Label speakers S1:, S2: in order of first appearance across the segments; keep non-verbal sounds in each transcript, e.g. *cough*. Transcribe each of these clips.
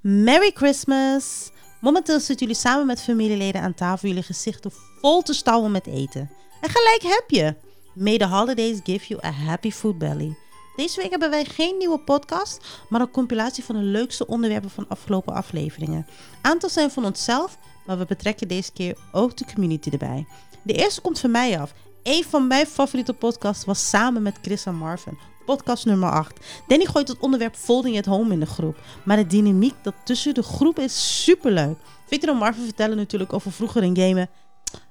S1: Merry Christmas! Momenteel zitten jullie samen met familieleden aan tafel jullie gezichten vol te stouwen met eten. En gelijk heb je! May the holidays give you a happy food belly. Deze week hebben wij geen nieuwe podcast, maar een compilatie van de leukste onderwerpen van afgelopen afleveringen. Aantal zijn van onszelf, maar we betrekken deze keer ook de community erbij. De eerste komt van mij af. Een van mijn favoriete podcasts was samen met Chris en Marvin. Podcast nummer 8. Danny gooit het onderwerp Folding at Home in de groep. Maar de dynamiek dat tussen de groep is superleuk. Victor en Marvin vertellen natuurlijk over vroeger in gamen.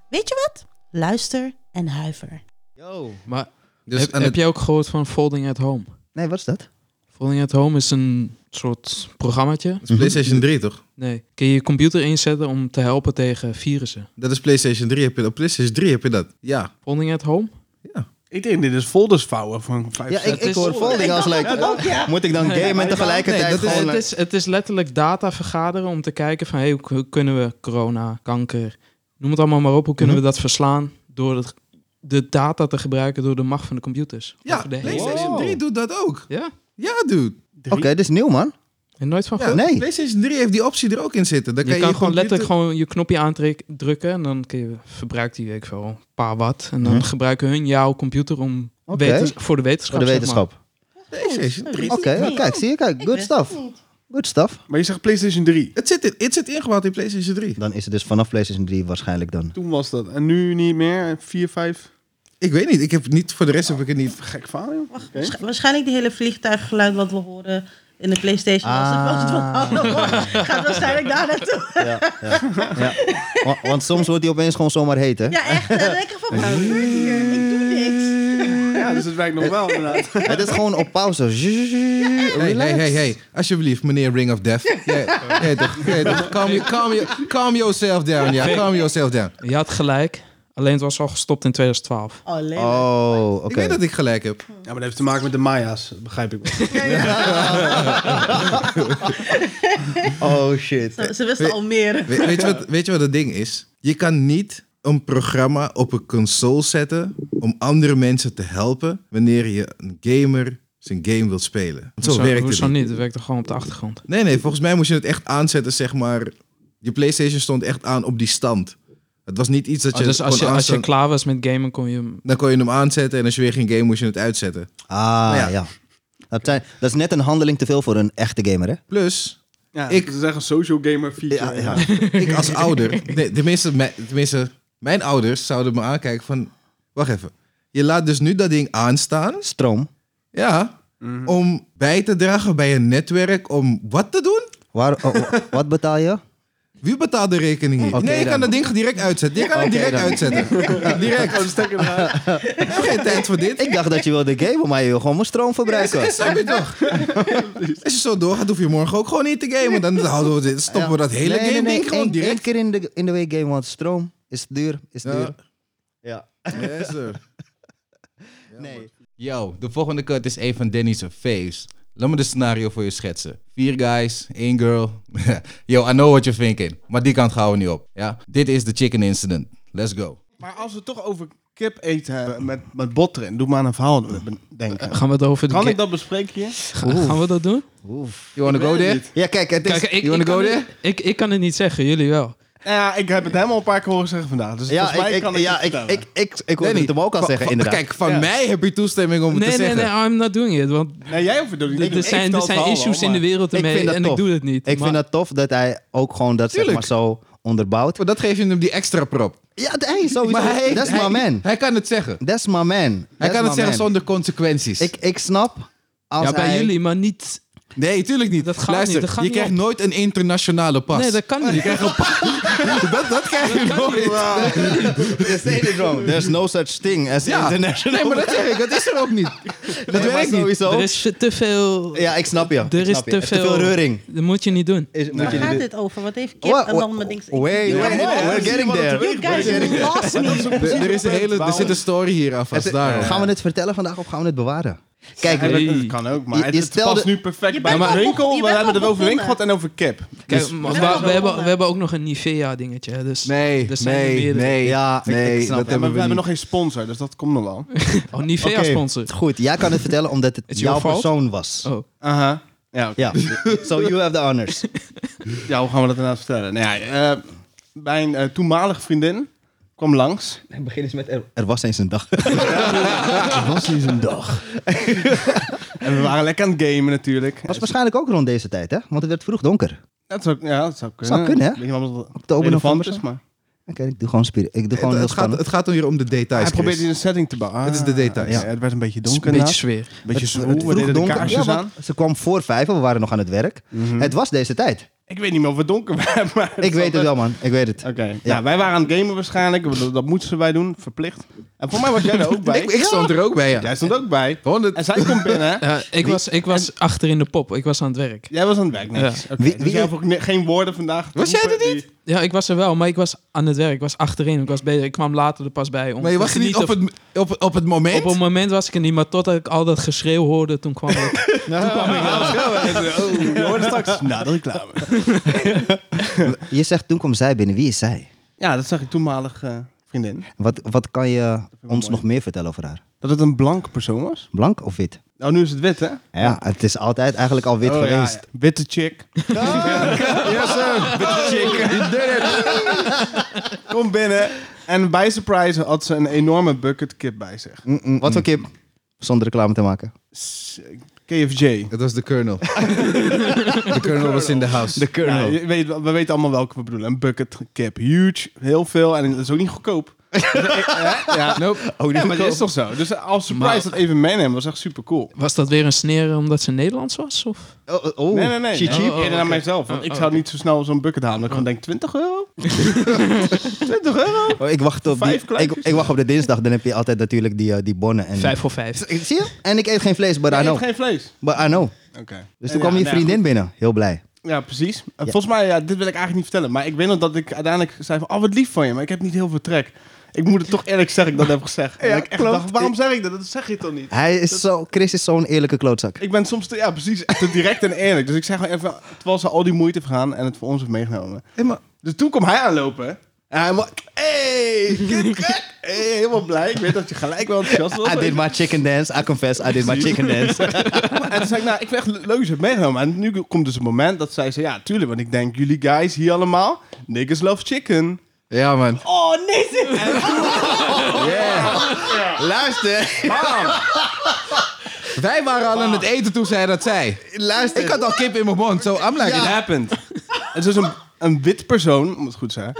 S1: Weet je wat? Luister en huiver.
S2: Yo.
S3: Maar
S2: Dus
S3: heb,
S2: en
S3: heb
S2: het-
S3: jij ook gehoord van Folding at Home?
S2: Nee, wat is dat?
S3: Folding at Home is een soort programmaatje.
S4: Dat is PlayStation 3, toch?
S3: Nee, kun je je computer inzetten om te helpen tegen virussen.
S4: Dat is PlayStation 3. Heb je, op PlayStation 3 heb je dat. Ja.
S3: Folding at Home?
S5: Ik denk, dit is folders vouwen van vijf
S2: Ja,
S5: cent.
S2: ik, ik hoor folding als leuk. Moet ik dan
S3: Nee,
S2: gamen en tegelijkertijd
S4: Nee, dat is-
S2: gewoon...
S3: het, is, het is letterlijk data vergaderen om te kijken van... Hey, hoe, hoe kunnen we corona, kanker, noem het allemaal maar op... hoe kunnen
S2: Mhm.
S3: we dat verslaan door het- de data te gebruiken... door de macht van de computers?
S4: Ja,
S3: Over de hele-
S4: PlayStation
S2: Wow.
S4: 3 doet dat ook.
S3: Ja,
S4: Ja, dude.
S2: Oké, dit is nieuw, man.
S3: en nooit van
S4: Ja,
S3: gehoord.
S2: Nee.
S4: PlayStation 3 heeft die optie er ook in zitten. Dan
S3: je,
S4: kan
S3: kan
S4: je
S3: gewoon
S4: computer-
S3: letterlijk gewoon je knopje aandrukken en dan kun je, verbruikt die week wel een paar watt. En dan
S2: Mhm.
S3: gebruiken hun jouw computer om
S2: Oké.
S3: wetens- voor de wetenschap.
S2: Voor de
S3: zeg
S2: wetenschap.
S4: PlayStation 3.
S2: Oké, ja, kijk, zie je, kijk. Good stuff. Good stuff.
S5: Maar je zegt PlayStation 3.
S4: Het zit, in, het zit ingebouwd in PlayStation 3.
S2: Dan is het dus vanaf PlayStation 3 waarschijnlijk dan.
S5: Toen was dat. En nu niet meer. 4, 5.
S4: Ik weet niet. Ik heb niet voor de rest heb ik het niet.
S5: Gek verhaal, joh. Oké.
S1: Waarsch- waarschijnlijk de hele vliegtuiggeluid wat we horen in de PlayStation. Als
S2: Ah.
S1: het gaat waarschijnlijk daar naartoe.
S2: Ja, ja, ja. Wa- *laughs* Want soms wordt die opeens gewoon zomaar heet, hè?
S1: Ja, echt. En dan denk ik van, wat gebeurt hier? Ik doe niks.
S5: Ja, dus het werkt nog wel, inderdaad.
S2: Het is gewoon op pauze.
S4: Hey, hey,
S2: Relax.
S4: hey, hey. Alsjeblieft, meneer Ring of Death. Jij- jij toch, jij toch. Calm, you- calm, you- calm yourself down, ja. Calm yourself down.
S3: maar. Je had gelijk, alleen het was al gestopt in 2012.
S1: Alleen.
S2: Oh, oké.
S4: Ik weet dat ik gelijk heb.
S5: Ja, maar dat heeft te maken met de Maya's. dat begrijp ik wel. *laughs*
S2: Oh, shit.
S1: Ze, ze wisten al meer.
S4: We- weet, je wat, weet je wat het ding is? Je kan niet een programma op een console zetten om andere mensen te helpen wanneer je een gamer zijn game wilt spelen. Want zo, werkt het
S3: hoezo
S4: niet.
S3: niet? Het werkte gewoon op de achtergrond.
S4: Nee, nee, volgens mij moest je het echt aanzetten, zeg maar. Je PlayStation stond echt aan op die stand. Het was niet iets dat
S3: Oh,
S4: je,
S3: dus als
S4: kon
S3: je, als je
S4: aanstaan-
S3: klaar was met gamen, kon je hem...
S4: Dan kon je hem aanzetten en als je weer ging game moest je het uitzetten.
S2: Ah,
S4: Ja.
S2: ja. Dat, zijn- dat is net een handeling te veel voor een echte gamer, hè?
S4: Plus,
S5: Ja,
S4: Ik-
S5: ik zeg een social gamer feature.
S2: Ja, ja.
S5: *laughs*
S4: ik
S3: *laughs*
S4: als ouder, nee, tenminste, mijn, tenminste, mijn ouders zouden me aankijken van... Wacht even, je laat dus nu dat ding aanstaan
S2: Stroom.
S4: Ja,
S2: Mhm.
S4: om bij te dragen bij een netwerk om wat te doen?
S2: Waar, oh, oh, wat betaal je?
S4: Wie betaalt de rekening hier?
S2: Oké
S4: nee, je
S2: dan.
S4: kan dat ding direct uitzetten. Je kan
S2: Oké
S4: het direct
S2: dan. *laughs*
S4: uitzetten. direct.
S5: Oh, de stekker *laughs* eruit.
S4: Ik heb geen tijd voor dit.
S2: Ik dacht dat je wilde gamen, maar je wil gewoon mijn stroom verbruiken.
S4: Dat snap je toch? Als je zo doorgaat, hoef je morgen ook gewoon niet te gamen. Dan houden we dit, stoppen we dat hele
S2: Nee, nee,
S4: game
S2: nee,
S4: ding gewoon
S2: één- één
S4: direct.
S2: keer in de, in de week gamen, want stroom is duur, is
S4: Ja.
S2: duur. Ja.
S4: Yes, sir.
S2: Nee.
S6: Yo, de volgende cut is een van Danny's faves. Laat me de scenario voor je schetsen. Vier guys, één girl. *laughs* Yo, I know what you're thinking. Maar die kant gaan we niet op. Ja? Dit is de chicken incident. Let's go.
S5: Maar als we het toch over kip eten hebben met, met bot erin, doe maar aan een verhaal denken.
S3: Gaan we het over de
S5: Kan
S3: ga-
S5: ik dat bespreken hier?
S3: Gaan we dat doen?
S2: Oef.
S6: You wanna
S5: Ik
S6: go
S5: weet het
S6: there?
S5: niet.
S2: Ja, kijk, het is...
S3: Kijk, ik,
S6: You
S3: ik,
S6: wanna
S3: kan
S6: go
S3: het, ik, ik kan het niet zeggen, jullie wel.
S5: Nou ja, ik heb het helemaal een paar keer horen zeggen vandaag. Dus
S2: ja,
S5: volgens mij
S2: ik, ik,
S5: kan ik
S2: ja,
S5: het
S2: ik,
S5: vertellen.
S2: ik, ik, ik hoorde
S4: Danny,
S2: het hem ook al
S4: van-
S2: zeggen,
S4: van-
S2: inderdaad.
S4: Kijk, van
S5: Ja.
S4: mij heb je toestemming om het
S3: Nee,
S4: te
S3: nee,
S4: zeggen.
S3: nee, I'm not doing it. Want
S5: Nee, jij hoeft het niet.
S3: er zijn, er zijn issues in de
S2: Ik
S3: wereld ermee
S2: vind dat
S3: en
S2: tof.
S3: ik doe het niet.
S2: ik vind
S3: Maar-
S2: het tof dat hij ook gewoon dat zeg maar
S4: Tuurlijk.
S2: zo onderbouwt.
S4: Maar dat geef je hem die extra prop.
S2: Ja, hey, sowieso.
S4: Maar hij,
S2: That's
S4: hij-
S2: my man.
S4: hij kan het zeggen.
S2: That's my man.
S4: Hij
S2: That's
S4: kan het
S2: my
S4: zeggen
S2: man.
S4: zonder consequenties.
S2: Ik, ik snap als
S3: Ja, bij
S2: hij-
S3: jullie, maar niet...
S4: Nee, tuurlijk niet.
S3: Dat gaat
S4: Luister,
S3: niet, dat gaat
S4: je
S3: niet
S4: krijgt
S3: op.
S4: nooit een internationale pas.
S3: Nee, dat kan niet.
S4: dat, dat krijg je nooit.
S3: *laughs*
S2: There's anything wrong. There's no such thing as
S4: Ja.
S2: international.
S4: Nee, maar dat zeg ik. Dat is er ook niet.
S2: Nee,
S4: Dat
S2: maar
S4: werkt niet.
S2: sowieso.
S3: Er is te veel...
S2: Ja, ik snap je.
S3: Er is te
S2: te veel
S3: veel-
S2: reuring.
S3: Dat moet je niet doen.
S2: Is, moet
S1: Waar
S2: jullie
S1: gaat
S2: dit-
S1: dit over? Wat heeft kip
S2: Wa-
S1: en
S2: wa-
S1: dan met niks... Ik-
S2: Wait,
S1: You
S2: wait, we're getting there.
S1: guys lost me.
S4: Er, er is een hele, er zit een story hier aan
S2: Het-
S4: vast. Daarom.
S2: Gaan we het vertellen vandaag of gaan we het bewaren? Kijk,
S5: Ja,
S3: Hey.
S5: maar dat kan ook, maar
S2: Je-
S5: het,
S2: je
S5: het
S2: stelde-
S5: past nu perfect
S1: Je
S5: bij
S1: bent
S5: mijn
S1: al
S5: winkel.
S1: begon- je
S5: We
S1: bent
S5: hebben
S1: al
S5: het over
S1: begonnen.
S5: winkel en over cap.
S3: Kijk,
S5: Dus-
S3: maar
S1: we
S3: we,
S1: zijn wel
S3: we hebben,
S1: begonnen.
S3: we hebben ook nog een Nivea dingetje. hè, Dus
S4: Nee,
S3: er zijn er
S4: nee,
S3: meerdere.
S4: nee.
S2: Ja, ik-
S4: nee,
S2: ik snap het.
S4: dat
S5: Ja, maar
S4: hebben
S5: we
S4: we
S5: hebben
S4: niet.
S5: nog geen sponsor, dus dat komt nog wel.
S3: Oh, Nivea
S2: Oké,
S3: sponsor.
S2: Goed, jij kan het vertellen omdat het
S3: It's
S2: jouw
S3: your fault?
S2: persoon was.
S3: Oh.
S5: Aha. Ja, oké.
S2: *laughs* Ja, so you have the honors.
S5: Ja, hoe gaan we dat inderdaad vertellen? Nou ja, eh, mijn eh, toenmalige vriendin kwam langs.
S2: Begin eens met er, er was eens een dag. *laughs* er was eens een dag.
S5: En we waren lekker aan het gamen natuurlijk.
S2: Was waarschijnlijk ook rond deze tijd, hè? Want het werd vroeg donker. Oké,
S5: Dat zou, ja, dat zou kunnen.
S2: Zou kunnen, hè?
S5: Weet je wel wat het
S2: Oktober,
S5: relevant
S2: november
S5: is,
S2: zo.
S5: maar...
S2: ik doe gewoon, spier- ik doe gewoon
S7: Het,
S2: heel
S7: het gaat,
S2: spannend.
S7: het gaat hier om de details.
S5: Hij probeert
S7: Chris.
S5: hier een setting te bouwen.
S7: Het is de details.
S5: Ja, het werd een beetje
S3: is een
S5: donker.
S3: beetje
S5: nacht.
S3: sfeer.
S5: beetje
S2: Het-
S5: zwoel.
S2: het
S5: we
S2: vroeg
S5: deden de
S2: donker.
S5: kaarsjes
S2: Ja,
S5: aan.
S2: want Ze kwam voor vijf, we waren nog aan het werk. Het was deze tijd.
S5: Ik weet niet meer of het donker werd, *laughs* maar...
S2: Ik weet het wel, man. Ik weet het.
S5: Oké, nou, wij waren aan het gamen waarschijnlijk. Dat, dat moesten wij doen, verplicht. En voor mij was jij er ook bij.
S7: Ik, ik stond er ook bij, ja.
S5: Jij stond ook bij.
S7: Gewoon het-
S5: En zij komt binnen.
S3: Eh, ik was, ik was achter in de pop. Ik was aan het werk.
S5: Jij was aan het werk, niks. Oké,
S2: Wie-
S5: dus
S2: wie-
S5: jij hebt ook ne- geen woorden vandaag.
S7: Was jij er
S5: geroepen
S7: niet?
S5: die-
S3: Ja, ik was er wel, maar ik was aan het werk. Ik was achterin. Ik was bezig. Ik kwam later er pas bij. Om
S7: Maar je
S3: te
S7: was er niet op
S3: genieten.
S7: het, op, op het moment?
S3: Op een moment was ik er niet, maar totdat ik al dat geschreeuw hoorde, toen kwam ik.
S5: Je hoorde
S2: *laughs*
S5: straks na de reclame.
S2: Je zegt, toen kwam zij binnen. Wie is zij?
S5: Ja, dat zag ik toenmalig eh, vriendin.
S2: Wat, wat kan je
S5: ik
S2: ons
S5: mooi.
S2: nog meer vertellen over haar?
S5: Dat het een blanke persoon was.
S2: Blank of wit?
S5: Nou, nu is het wit, hè?
S2: Ja, het is altijd eigenlijk al wit
S5: Oh, ja,
S2: geweest.
S5: ja. Witte chick.
S7: Yes,
S5: *laughs*
S7: sir.
S5: Witte chick. Kom binnen. En bij surprise had ze een enorme bucket kip bij zich.
S2: Mm, mm, Wat voor kip? Zonder reclame te maken.
S5: S- KFJ.
S7: Het was de
S3: *laughs*
S7: Colonel. De Colonel was in de house. De
S5: Ja, Nou, je weet, we weten allemaal welke we bedoelen. Een bucket kip. Huge. Heel veel. En dat is ook niet goedkoop. ja, ja.
S7: Nope.
S5: ja, maar dat is toch zo. Dus als surprise
S3: Maar-
S5: dat even meenemen was echt super cool.
S3: Was dat weer een sneer omdat ze Nederlands was? Of?
S2: Oh, oh, oh.
S5: Nee, nee, nee.
S2: She
S5: Ik
S2: cheap?
S5: eerder naar
S3: oké.
S5: mijzelf. Want
S3: Oh,
S5: ik
S3: oh,
S5: zou
S3: oké.
S5: niet zo snel zo'n bucket halen. Ik gewoon denk, 20 euro? 20 euro?
S2: Oh, ik, wacht op die,
S5: Vijf
S2: ik,
S5: kluitjes?
S2: ik wacht op de dinsdag, dan heb je altijd natuurlijk die, eh, die bonnen. En,
S3: Vijf voor vijf.
S2: Ik- Zie je? En ik eet geen vlees, but I
S5: Nee,
S2: know.
S5: geen vlees.
S2: But I know.
S5: Oké.
S2: Dus
S5: En
S2: toen kwam
S5: ja,
S2: je
S5: nou ja,
S2: vriendin binnen. Heel blij.
S5: Ja, precies. En Volgens mij, ja, dit wil ik eigenlijk niet vertellen. Maar ik weet nog dat ik uiteindelijk zei van... Oh, wat lief van je, maar ik heb niet heel veel trek. Ik moet het toch eerlijk zeggen dat ik dat heb gezegd. En ik echt dacht, waarom zeg ik dat? Dat zeg je toch niet?
S2: Hij is zo, Chris is zo'n eerlijke klootzak.
S5: Ik ben soms te, ja, precies, te direct en eerlijk. Dus ik zeg gewoon even, terwijl ze al die moeite heeft gedaan en het voor ons heeft meegenomen. Dus toen kwam hij aanlopen. En hij was, hey, kid crack. Hey, helemaal blij. Ik weet dat je gelijk wel enthousiast was.
S2: I did my chicken dance. I confess, I did my chicken dance.
S5: En toen zei ik, nou, ik vind echt leuk dat je hebt meegenomen. En nu komt dus het moment dat zij zei, ja, tuurlijk. Want ik denk, jullie guys hier allemaal, niggas love chicken.
S7: Ja, man.
S1: Oh nee, ze-
S7: Luister. Wij waren al aan het eten toen zij dat zei. Luister. Ik had al kip in mijn mond. Zo, I'm like...
S5: It happened. *laughs* Het is dus een, een wit persoon, moet het goed zijn,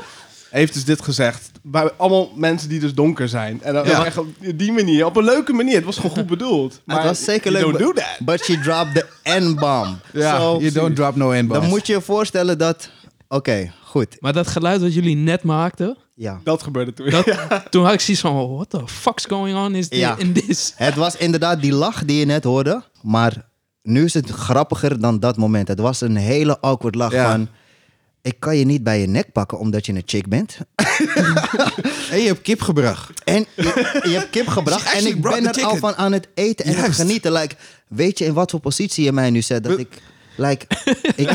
S5: heeft dus dit gezegd. Bij allemaal mensen die dus donker zijn. En dan
S7: Ja.
S5: echt op die manier, op een leuke manier. Het was gewoon goed bedoeld. Maar
S2: het was zeker leuk.
S5: You don't
S2: but-
S5: do that.
S2: But she dropped the N-bomb.
S7: *laughs* Ja,
S2: Zo,
S7: you don't drop no n
S2: dan moet je je voorstellen dat... Oké, goed.
S3: Maar dat geluid wat jullie net maakten,
S2: Ja.
S5: Dat gebeurde toen.
S3: dat, toen had ik zoiets van, "Oh, what the fuck's going on is
S2: Ja.
S3: ja. in this?
S2: Het was inderdaad die lach die je net hoorde. Maar nu is het grappiger dan dat moment. Het was een hele awkward lach
S7: Ja.
S2: van... Ik kan je niet bij je nek pakken omdat je een chick bent.
S7: En je hebt kip gebracht.
S2: En je, je hebt kip
S7: *laughs* She
S2: gebracht en
S7: actually
S2: ik
S7: brought
S2: ben
S7: the
S2: er al
S7: chicken.
S2: van aan het eten en het
S7: Juist.
S2: genieten. Like, weet je in wat voor positie je mij nu zet? Dat ik...
S7: *laughs*
S2: Like, ik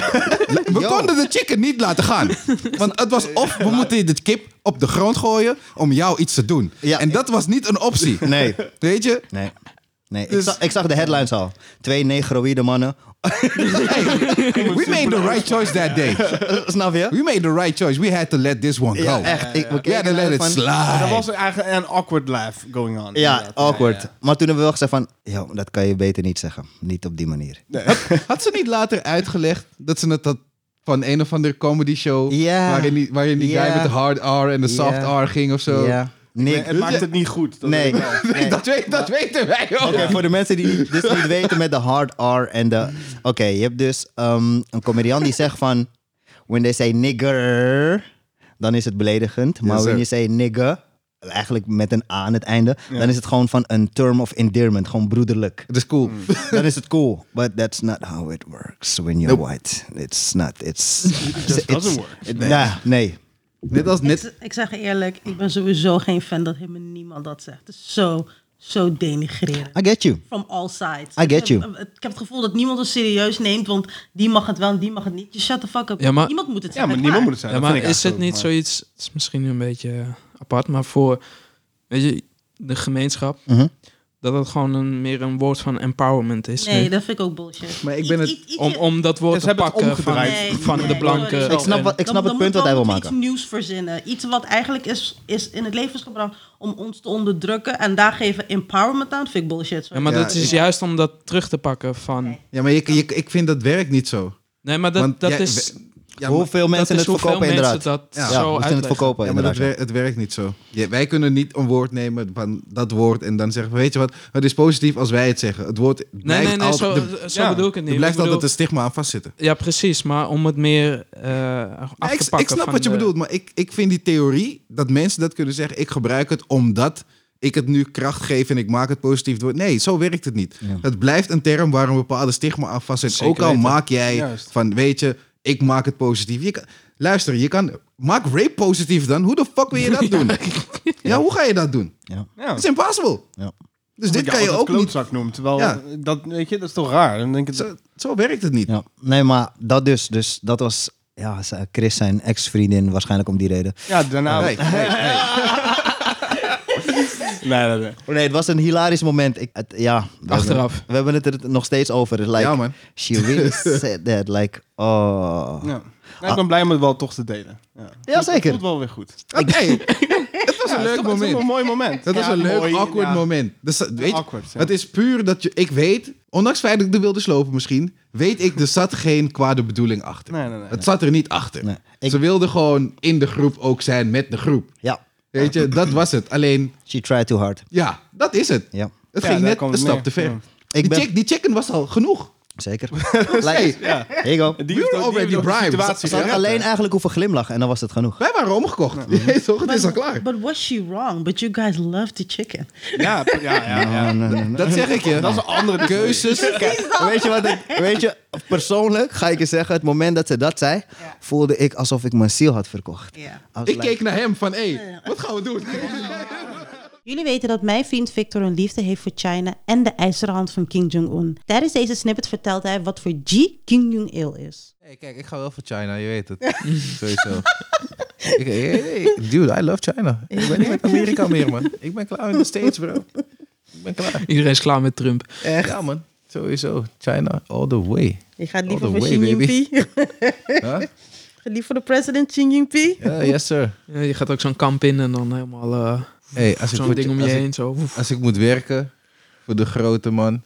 S7: We
S2: Yo.
S7: konden de chicken niet laten gaan. Want het was of we moeten de kip op de grond gooien om jou iets te doen.
S2: Ja.
S7: en dat was niet een optie.
S2: *laughs* Nee.
S7: *laughs* Weet je?
S2: Nee. Nee, ik,
S7: Dus-
S2: zag, ik zag de headlines al. Twee negroïde mannen.
S7: We made the right choice that day.
S2: Eh, Snap je?
S7: We made the right choice. We had to let this one go.
S2: Ja, echt. Ik, we
S7: We had
S2: keken
S7: to let
S2: naar
S7: it
S2: van-
S5: *laughs* Er
S7: slide.
S5: was eigenlijk een awkward laugh going on.
S2: Ja,
S5: inderdaad.
S2: awkward. Maar toen hebben we wel gezegd van... Yo, dat kan je beter niet zeggen. Niet op die manier.
S7: Had ze niet later uitgelegd dat ze het had van een of andere comedy show.
S2: Ja.
S7: Waarin die, waarin die
S2: Ja.
S7: guy met de hard R en de soft
S2: Ja.
S7: R ging of zo.
S2: Ja.
S5: Nee,
S2: Nick.
S5: het maakt het niet goed. *laughs* Dat
S2: Nee.
S5: weet ik wel.
S2: nee.
S7: Dat, weet, dat weten wij ook.
S2: Oké, voor de mensen die dit niet weten met de hard R en de... Oké, je hebt dus ehm, een comedian die zegt van... When they say nigger, dan is het beledigend. Maar
S7: Yes,
S2: when
S7: sir.
S2: you say nigger, eigenlijk met een A aan het einde... dan is het gewoon van een term of endearment, gewoon broederlijk.
S7: Dat is cool.
S2: Dan is het cool. But that's not how it works when you're white. It's not, it's... It
S5: just doesn't work.
S2: Nah, nee.
S7: Net als net.
S1: Ik zeg je eerlijk, ik ben sowieso geen fan dat helemaal niemand dat zegt. Het is zo, zo denigrerend.
S2: I get you.
S1: From all sides.
S2: I get you.
S1: Ik heb, ik heb het gevoel dat niemand het serieus neemt, want die mag het wel en die mag het niet. Je shut the fuck up.
S3: Ja, maar-
S1: niemand moet het
S5: Ja,
S1: zeggen.
S5: maar niemand moet het zijn.
S3: Ja,
S5: dat
S3: maar
S5: vind ik
S3: is het
S5: eigenlijk
S3: niet
S5: ook,
S3: zoiets, het is misschien een beetje eh, apart, maar voor, weet je, de gemeenschap, dat het gewoon een, meer een woord van empowerment is.
S1: Nee,
S3: nu.
S1: dat vind ik ook bullshit.
S5: Maar ik ben het-
S3: om, om dat woord
S5: Ja, ze
S3: te
S5: hebben het
S3: pakken van,
S5: omgedraaid.
S1: Nee,
S3: van
S1: nee,
S3: de blanke.
S1: sorry.
S2: Ik snap, wat,
S1: Dan-
S2: ik snap het
S1: dan moet
S2: punt wat hij wil
S1: iemand
S2: maken.
S1: Iets nieuws verzinnen. Iets wat eigenlijk is, is in het leven is gebracht om ons te onderdrukken. En daar geven empowerment aan. Vind ik bullshit. sorry.
S3: Ja, maar
S7: Ja,
S3: dat *laughs* is juist om dat terug te pakken van...
S7: Ja, maar je, je, ik vind dat werkt niet zo.
S3: Nee, maar dat,
S7: Want
S3: dat
S7: jij-
S3: is...
S7: Ja, maar-
S2: hoeveel
S3: dat
S2: mensen
S3: is
S2: het
S3: hoeveel
S2: verkopen
S3: mensen
S2: inderdaad.
S3: dat
S2: Ja,
S3: zo
S2: hoeveel het
S3: uitleggen.
S2: verkopen
S7: Ja, maar dat
S2: inderdaad. ja.
S7: wer- het werkt niet zo. Ja, wij kunnen niet een woord nemen van dat woord en dan zeggen we, weet je wat, het is positief als wij het zeggen. Het woord blijft
S3: Nee, nee, nee,
S7: altijd,
S3: zo,
S7: er-
S3: zo
S5: ja,
S3: bedoel ik het
S7: er
S3: niet.
S7: blijft
S3: Ik bedoel-
S7: altijd een stigma aan vastzitten.
S3: Ja, precies, maar om het meer eh
S7: Ja,
S3: af
S7: ik,
S3: te
S7: ik
S3: pakken
S7: snap
S3: van
S7: wat je
S3: de-
S7: bedoelt, maar ik, ik vind die theorie dat mensen dat kunnen zeggen, ik gebruik het omdat ik het nu kracht geef en ik maak het positief door. Nee, zo werkt het niet.
S2: Ja.
S7: Het blijft een term waar een bepaalde stigma aan vast zit.
S3: Zeker
S7: Ook al
S3: weten.
S7: maak jij
S5: Juist.
S7: van, weet je, ik maak het positief. Je kan, luister, je kan, maak rape positief dan. Hoe de fuck wil je dat doen? ja. hoe ga je dat doen?
S5: Ja.
S7: Dat is impossible.
S2: Ja.
S7: Dus dit kan je ook niet.
S5: klootzak noemen. Terwijl,
S7: Ja.
S5: dat, weet je, dat is toch raar? Dan denk ik,
S7: Zo, zo werkt het niet.
S2: Nee, maar dat dus. Dus dat was ja, z- Chris zijn ex-vriendin waarschijnlijk om die reden.
S5: ja, daarna...
S7: Nee, nee, nee.
S5: Nee, nee, nee.
S2: Oh Nee, het was een hilarisch moment. Ik, het- ja, we
S3: Achteraf.
S2: Hebben, we hebben het er nog steeds over. Like,
S7: Ja, man.
S2: She really said that. Like, oh.
S5: Ja. Nou, ik ben blij om het wel toch te delen. Ja,
S2: Jazeker.
S5: Voelt wel weer goed.
S7: Oké, het was een leuk
S5: Het is
S7: moment.
S5: toch een mooi moment.
S7: Dat was
S5: Ja,
S7: een leuk,
S5: mooi,
S7: awkward
S5: ja.
S7: moment. Dus, dat- weet je,
S5: awkward, ja.
S7: Het is puur dat je... Ik weet, ondanks het feit dat ik de wilde slopen misschien... weet ik, er zat geen kwade bedoeling achter.
S5: Nee, nee, nee.
S7: Het zat er niet achter.
S2: Nee, ik-
S7: Ze wilde gewoon in de groep ook zijn met de groep.
S2: Ja,
S7: Weet je, dat was het. Alleen,
S2: she tried too hard.
S7: ja, dat is het.
S2: Ja,
S7: Het
S5: Ja,
S7: ging
S5: daar
S7: net
S5: komt
S7: een
S5: het
S7: stap
S5: neer.
S7: te ver.
S5: Ja.
S7: Die,
S2: Ik ben-
S7: check, die checken was al genoeg.
S2: zeker.
S7: Hey,
S2: like, here you go.
S7: We were
S5: Die heeft ook- die
S7: already
S5: heeft ook de
S7: bribed.
S5: situatie
S2: Ze had
S5: gered.
S2: alleen eigenlijk hoeven glimlachen en dan was het genoeg.
S7: wij waren omgekocht. *laughs* Ja, toch? Het is al klaar.
S1: But was she wrong? But you guys love the chicken.
S5: Ja, ja, ja. ja.
S7: Dat zeg ik je.
S5: Dat is een andere
S7: Keuzes.
S2: Dus, Weet je wat het, weet je, persoonlijk ga ik je zeggen, het moment dat ze dat zei, voelde ik alsof ik mijn ziel had verkocht.
S1: Ja.
S2: I was
S7: Ik
S2: like,
S7: keek naar hem van, hé, wat gaan we doen?
S1: Jullie weten dat mijn vriend Victor een liefde heeft voor China en de ijzeren hand van Kim Jong-un. Tijdens deze snippet vertelt hij wat voor G Kim Jong-il is.
S4: Hey, kijk, ik ga wel voor China, je weet het. *laughs* Sowieso. Ik- hey, hey, dude, I love China. Ik ben niet met Amerika meer, man. Ik ben klaar in de States, bro. Ik ben klaar.
S3: Iedereen is klaar met Trump.
S4: Echt? Ja, man. Sowieso. China all the way.
S1: Je gaat
S4: liever All the voor way, Xi baby.
S1: *laughs*
S3: *laughs*
S4: Huh?
S1: Gaat liever de president Xi Jinping?
S4: Ja, yes, sir.
S3: Ja, je gaat ook zo'n kamp in en dan helemaal eh,
S4: Hey, als ik,
S3: zo'n
S4: moet,
S3: ding om je
S4: als,
S3: heen.
S4: Ik,
S3: Zo. Oef.
S4: als ik moet werken voor de grote man,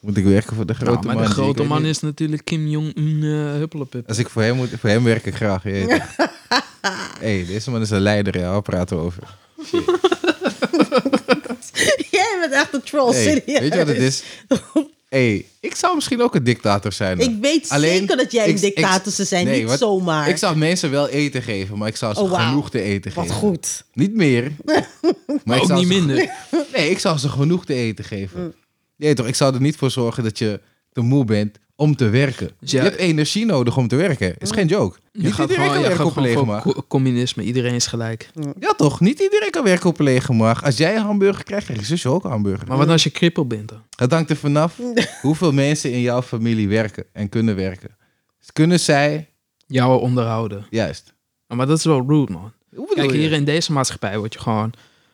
S4: moet ik werken voor de grote
S3: Nou, maar
S4: man.
S3: de
S4: Ik
S3: grote
S4: weet
S3: man
S4: niet.
S3: is natuurlijk Kim Jong-un eh huppelepup.
S4: Als ik voor hem moet, voor hem werk ik graag, je weet het.
S3: *laughs*
S4: hey, deze man is een leider, ja. Waar praten we over?
S1: *laughs* Jij bent echt een troll,
S4: Hey,
S1: serieus.
S4: weet je wat het
S1: *laughs*
S4: is? hey, ik zou misschien ook een dictator zijn.
S1: Ik weet
S4: Alleen,
S1: zeker dat jij
S4: ik-
S1: een dictator zou zijn,
S4: nee,
S1: niet
S4: wat-
S1: zomaar.
S4: Ik zou mensen wel eten geven, maar ik zou ze
S1: Oh, wauw.
S4: genoeg te eten
S1: Wat
S4: geven.
S1: goed.
S4: Niet
S1: *laughs*
S4: meer. Maar
S3: Maar
S4: ik
S3: ook
S4: zou
S3: niet
S4: ze
S3: minder.
S4: geno- nee, ik zou ze genoeg te eten geven. Nee, toch? Ik zou er niet voor zorgen dat je te moe bent om te werken.
S3: Dus ja-
S4: Je hebt energie nodig om te werken. Is geen joke.
S3: Je
S4: niet
S3: gaat
S4: iedereen
S3: gewoon,
S4: kan
S3: je
S4: werken
S3: gaat
S4: op een
S3: gewoon
S4: lege
S3: voor
S4: maag.
S3: co- communisme. Iedereen is gelijk.
S4: Ja, toch? Niet iedereen kan werken op een lege maag. Als jij een hamburger krijgt, krijg je zusje ook een hamburger.
S3: Maar wat als je krippel bent dan?
S4: Het hangt er
S1: *laughs*
S4: vanaf hoeveel mensen in jouw familie werken en kunnen werken. Dus kunnen zij...
S3: Jou onderhouden.
S4: Juist.
S3: Ja, Maar dat is wel rude, man.
S4: Hoe bedoel
S3: Kijk,
S4: je?
S3: hier in deze maatschappij word je gewoon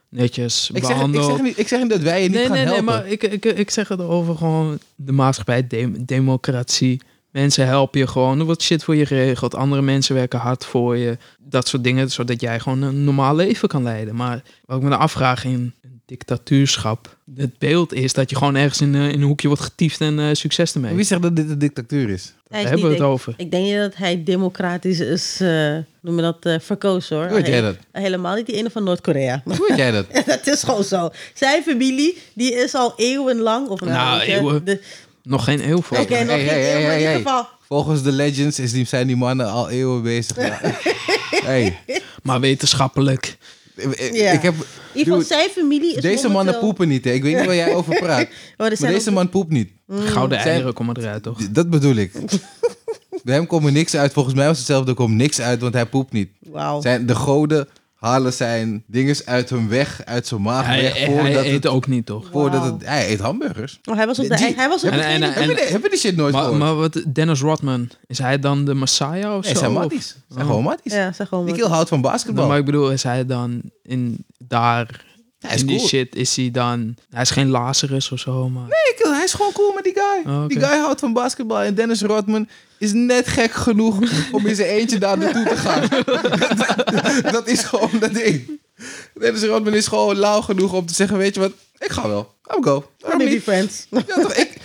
S3: netjes
S4: Ik zeg, ik,
S3: behandeld.
S4: zeg niet, ik zeg niet dat wij je niet
S3: nee,
S4: gaan
S3: nee, nee,
S4: helpen.
S3: maar ik, ik, ik zeg het over gewoon de maatschappij, de- democratie. Mensen helpen je gewoon. Er wordt shit voor je geregeld. Andere mensen werken hard voor je. Dat soort dingen, zodat jij gewoon een normaal leven kan leiden. Maar wat ik me dan afvraag in een dictatuurschap. Het beeld is dat je gewoon ergens in, eh, in een hoekje wordt getiefd en eh, succes ermee.
S4: Wie zegt dat dit een dictatuur
S3: *laughs*
S4: is?
S1: Hij
S3: Daar
S1: is
S3: hebben we
S1: niet
S3: het over.
S1: Ik denk niet dat hij democratisch is, eh, noem je dat, eh, verkozen hoor.
S4: Hoe weet jij dat?
S1: Helemaal niet die ene van Noord-Korea. *laughs*
S4: Hoe weet jij dat?
S1: dat is gewoon zo. Zijn familie, die is al eeuwenlang... Of nou,
S3: Nou,
S1: weet je,
S3: eeuwen.
S1: de-
S3: Nog geen eeuw voor.
S1: Oké,
S4: Hey,
S1: nog
S4: hey,
S1: geen
S4: hey,
S1: eeuw, maar in
S4: hey,
S1: ieder
S4: hey.
S1: geval...
S4: Volgens de legends is die, zijn die mannen al eeuwen
S1: *laughs*
S4: bezig. Ja. hey,
S3: Maar wetenschappelijk.
S4: ik- ik-
S1: Ja.
S4: ik heb,
S1: In ieder geval,
S4: dude,
S1: zijn familie is
S4: deze mannen
S1: momenteel-
S4: poepen niet. Hè. Ik weet niet waar jij over
S1: *laughs*
S4: praat.
S1: Oh, er
S4: Maar
S1: zijn
S4: deze
S1: ook-
S4: man poept niet.
S1: Mm.
S3: Gouden
S4: Zijn-
S3: eieren komen eruit, toch?
S4: D- Dat bedoel
S1: *laughs*
S4: ik. Bij hem komt er niks uit. Volgens mij was hetzelfde. Er komt niks uit, want hij poept niet.
S1: Wauw.
S4: Zijn, de goden halen zijn dinges uit hun weg, uit zijn maag
S3: Hij,
S4: weg.
S3: hij,
S4: Voordat
S3: eet
S4: het,
S3: ook niet, toch?
S4: voordat het, hij eet hamburgers.
S1: Oh, hij was op de...
S4: Die-
S1: Hij was op de...
S3: En- en-
S1: tweede-
S4: Heb je, die- heb je die shit nooit
S3: Maar,
S4: gehoord?
S3: maar wat, Dennis Rodman, is hij dan de Messiah of
S4: nee,
S3: zo?
S4: zijn
S3: Of-
S4: matties. Zijn gewoon matties.
S1: Ja, zeg gewoon
S4: Ik
S1: wat.
S4: heel houd van
S3: Nou,
S4: basketbal.
S3: maar ik bedoel, is hij dan in, daar
S4: Hij is
S3: in die
S4: cool.
S3: shit is hij dan... Hij is geen Lazarus of zo, maar...
S4: Ik, hij is gewoon cool met die guy.
S3: Oh, oké.
S4: Die guy houdt van basketbal. En Dennis Rodman is net gek genoeg om in zijn eentje daar naartoe te gaan. *laughs* dat, dat is gewoon dat ding. Dennis Rodman is gewoon lauw genoeg om te zeggen, weet je wat, ik ga wel. I'm go. Waarom niet? *laughs*
S1: friends.
S4: Ja, toch, ik-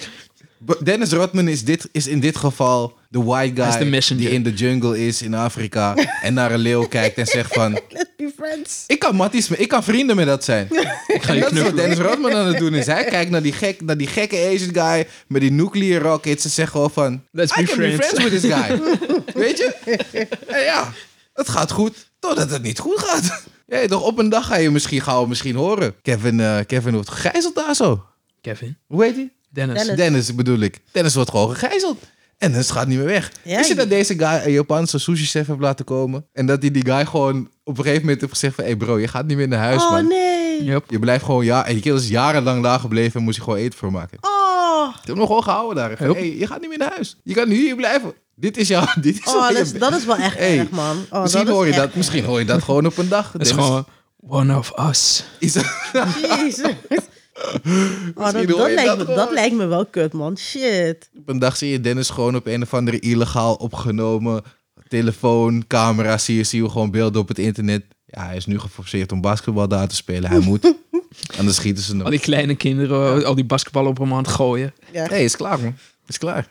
S4: B- Dennis Rodman is, dit, is in dit geval de white
S3: is de
S4: guy
S3: messenger.
S4: die in de jungle is in *laughs* Afrika en naar een leeuw kijkt en zegt van...
S1: Let's be friends.
S4: Ik kan matties, ik kan vrienden met dat *laughs* zijn. Ik ga
S3: je
S4: dat is wat
S3: knuffelen.
S4: Dennis Rodman aan het doen is. Hij kijkt naar die, gek, naar die gekke Asian guy met die nuclear rockets en zegt gewoon van...
S3: Let's
S4: I
S3: be
S4: can be
S3: friends.
S4: friends with
S3: *laughs*
S4: this guy. Weet je? En ja, het gaat goed totdat het niet goed gaat. *laughs* Ja, toch op een dag ga je misschien gauw misschien horen. Kevin, eh, Kevin wordt gegijzeld daar zo.
S3: Kevin.
S4: Hoe heet hij?
S3: Dennis.
S1: Dennis.
S4: Dennis bedoel ik. Dennis wordt gewoon gegijzeld. En Dennis gaat niet meer weg.
S1: Ja,
S4: Is je dat
S1: je-
S4: deze guy een Japanse sushi chef heeft laten komen? En dat hij die guy gewoon op een gegeven moment heeft gezegd van... Hé hey bro, je gaat niet meer naar huis,
S1: Oh
S4: man.
S1: nee.
S3: Yep.
S4: Je blijft gewoon... Ja, en die kerel is jarenlang daar gebleven en moest hij gewoon eten voor maken.
S1: Oh,
S4: Ik heb hem gewoon gehouden daar. Van,
S3: Yep.
S4: hey, je gaat niet meer naar huis. Je kan nu hier blijven. Dit is jouw... *laughs* Dit is
S1: oh
S4: wat je
S1: dat, is,
S4: bent.
S1: dat is wel echt
S4: Hey,
S1: erg, man. Oh,
S4: misschien,
S1: dat is
S4: hoor je
S1: echt
S4: dat, misschien hoor je dat gewoon op een dag.
S3: Dat is gewoon one of us.
S1: *laughs* Jezus. Oh, dat,
S4: Misschien hoor
S1: dat,
S4: je
S1: lijkt
S4: dat
S1: me,
S4: gewoon.
S1: dat lijkt me wel kut, man. Shit.
S4: Op een dag zie je Dennis gewoon op een of andere illegaal opgenomen telefoon, camera, zie je, zie je gewoon beelden op het internet. Ja, hij is nu geforceerd om basketbal daar te spelen. Hij *laughs* moet. Anders schieten ze
S3: Al
S4: hem.
S3: die kleine kinderen, al die basketballen op hem aan het gooien.
S1: Ja.
S4: Nee, is klaar man. Is klaar.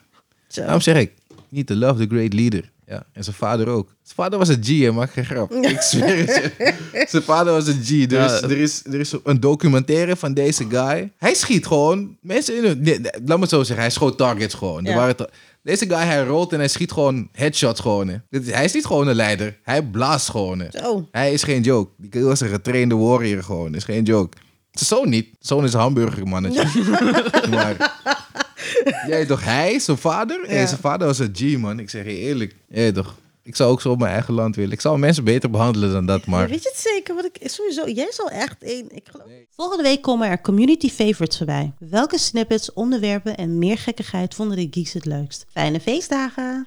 S1: Zo.
S4: Daarom zeg ik, niet to love the great leader. Ja, en zijn vader ook. Zijn vader was een G, hè, maak geen grap. Ik zweer het je. Zijn vader was een G. Er is,
S3: Ja.
S4: er, is, er is een documentaire van deze guy. Hij schiet gewoon mensen in hun... Nee, nee, laat me het zo zeggen, hij schoot targets gewoon. Er
S1: Ja.
S4: waren ta- deze guy, hij rolt en hij schiet gewoon headshots gewoon. hè. Dit is- Hij is niet gewoon een leider. Hij blaast gewoon. hè.
S1: Zo.
S4: Hij is geen joke. Die kerel is een getrainde warrior gewoon. Is geen joke. Zijn zoon niet. Zijn zoon is een hamburger mannetje. maar jij toch hij, zijn vader? Ja.
S1: Ja.
S4: zijn vader was een G man. Ik zeg je eerlijk. Jij toch. Ik zou ook zo op mijn eigen land willen. Ik zou mensen beter behandelen dan dat, maar
S1: Weet je het zeker? Want ik is sowieso, jij zal echt één. Ik geloof. Volgende week komen er community favorites voorbij. Welke snippets, onderwerpen en meer gekkigheid vonden de geeks het leukst? Fijne feestdagen!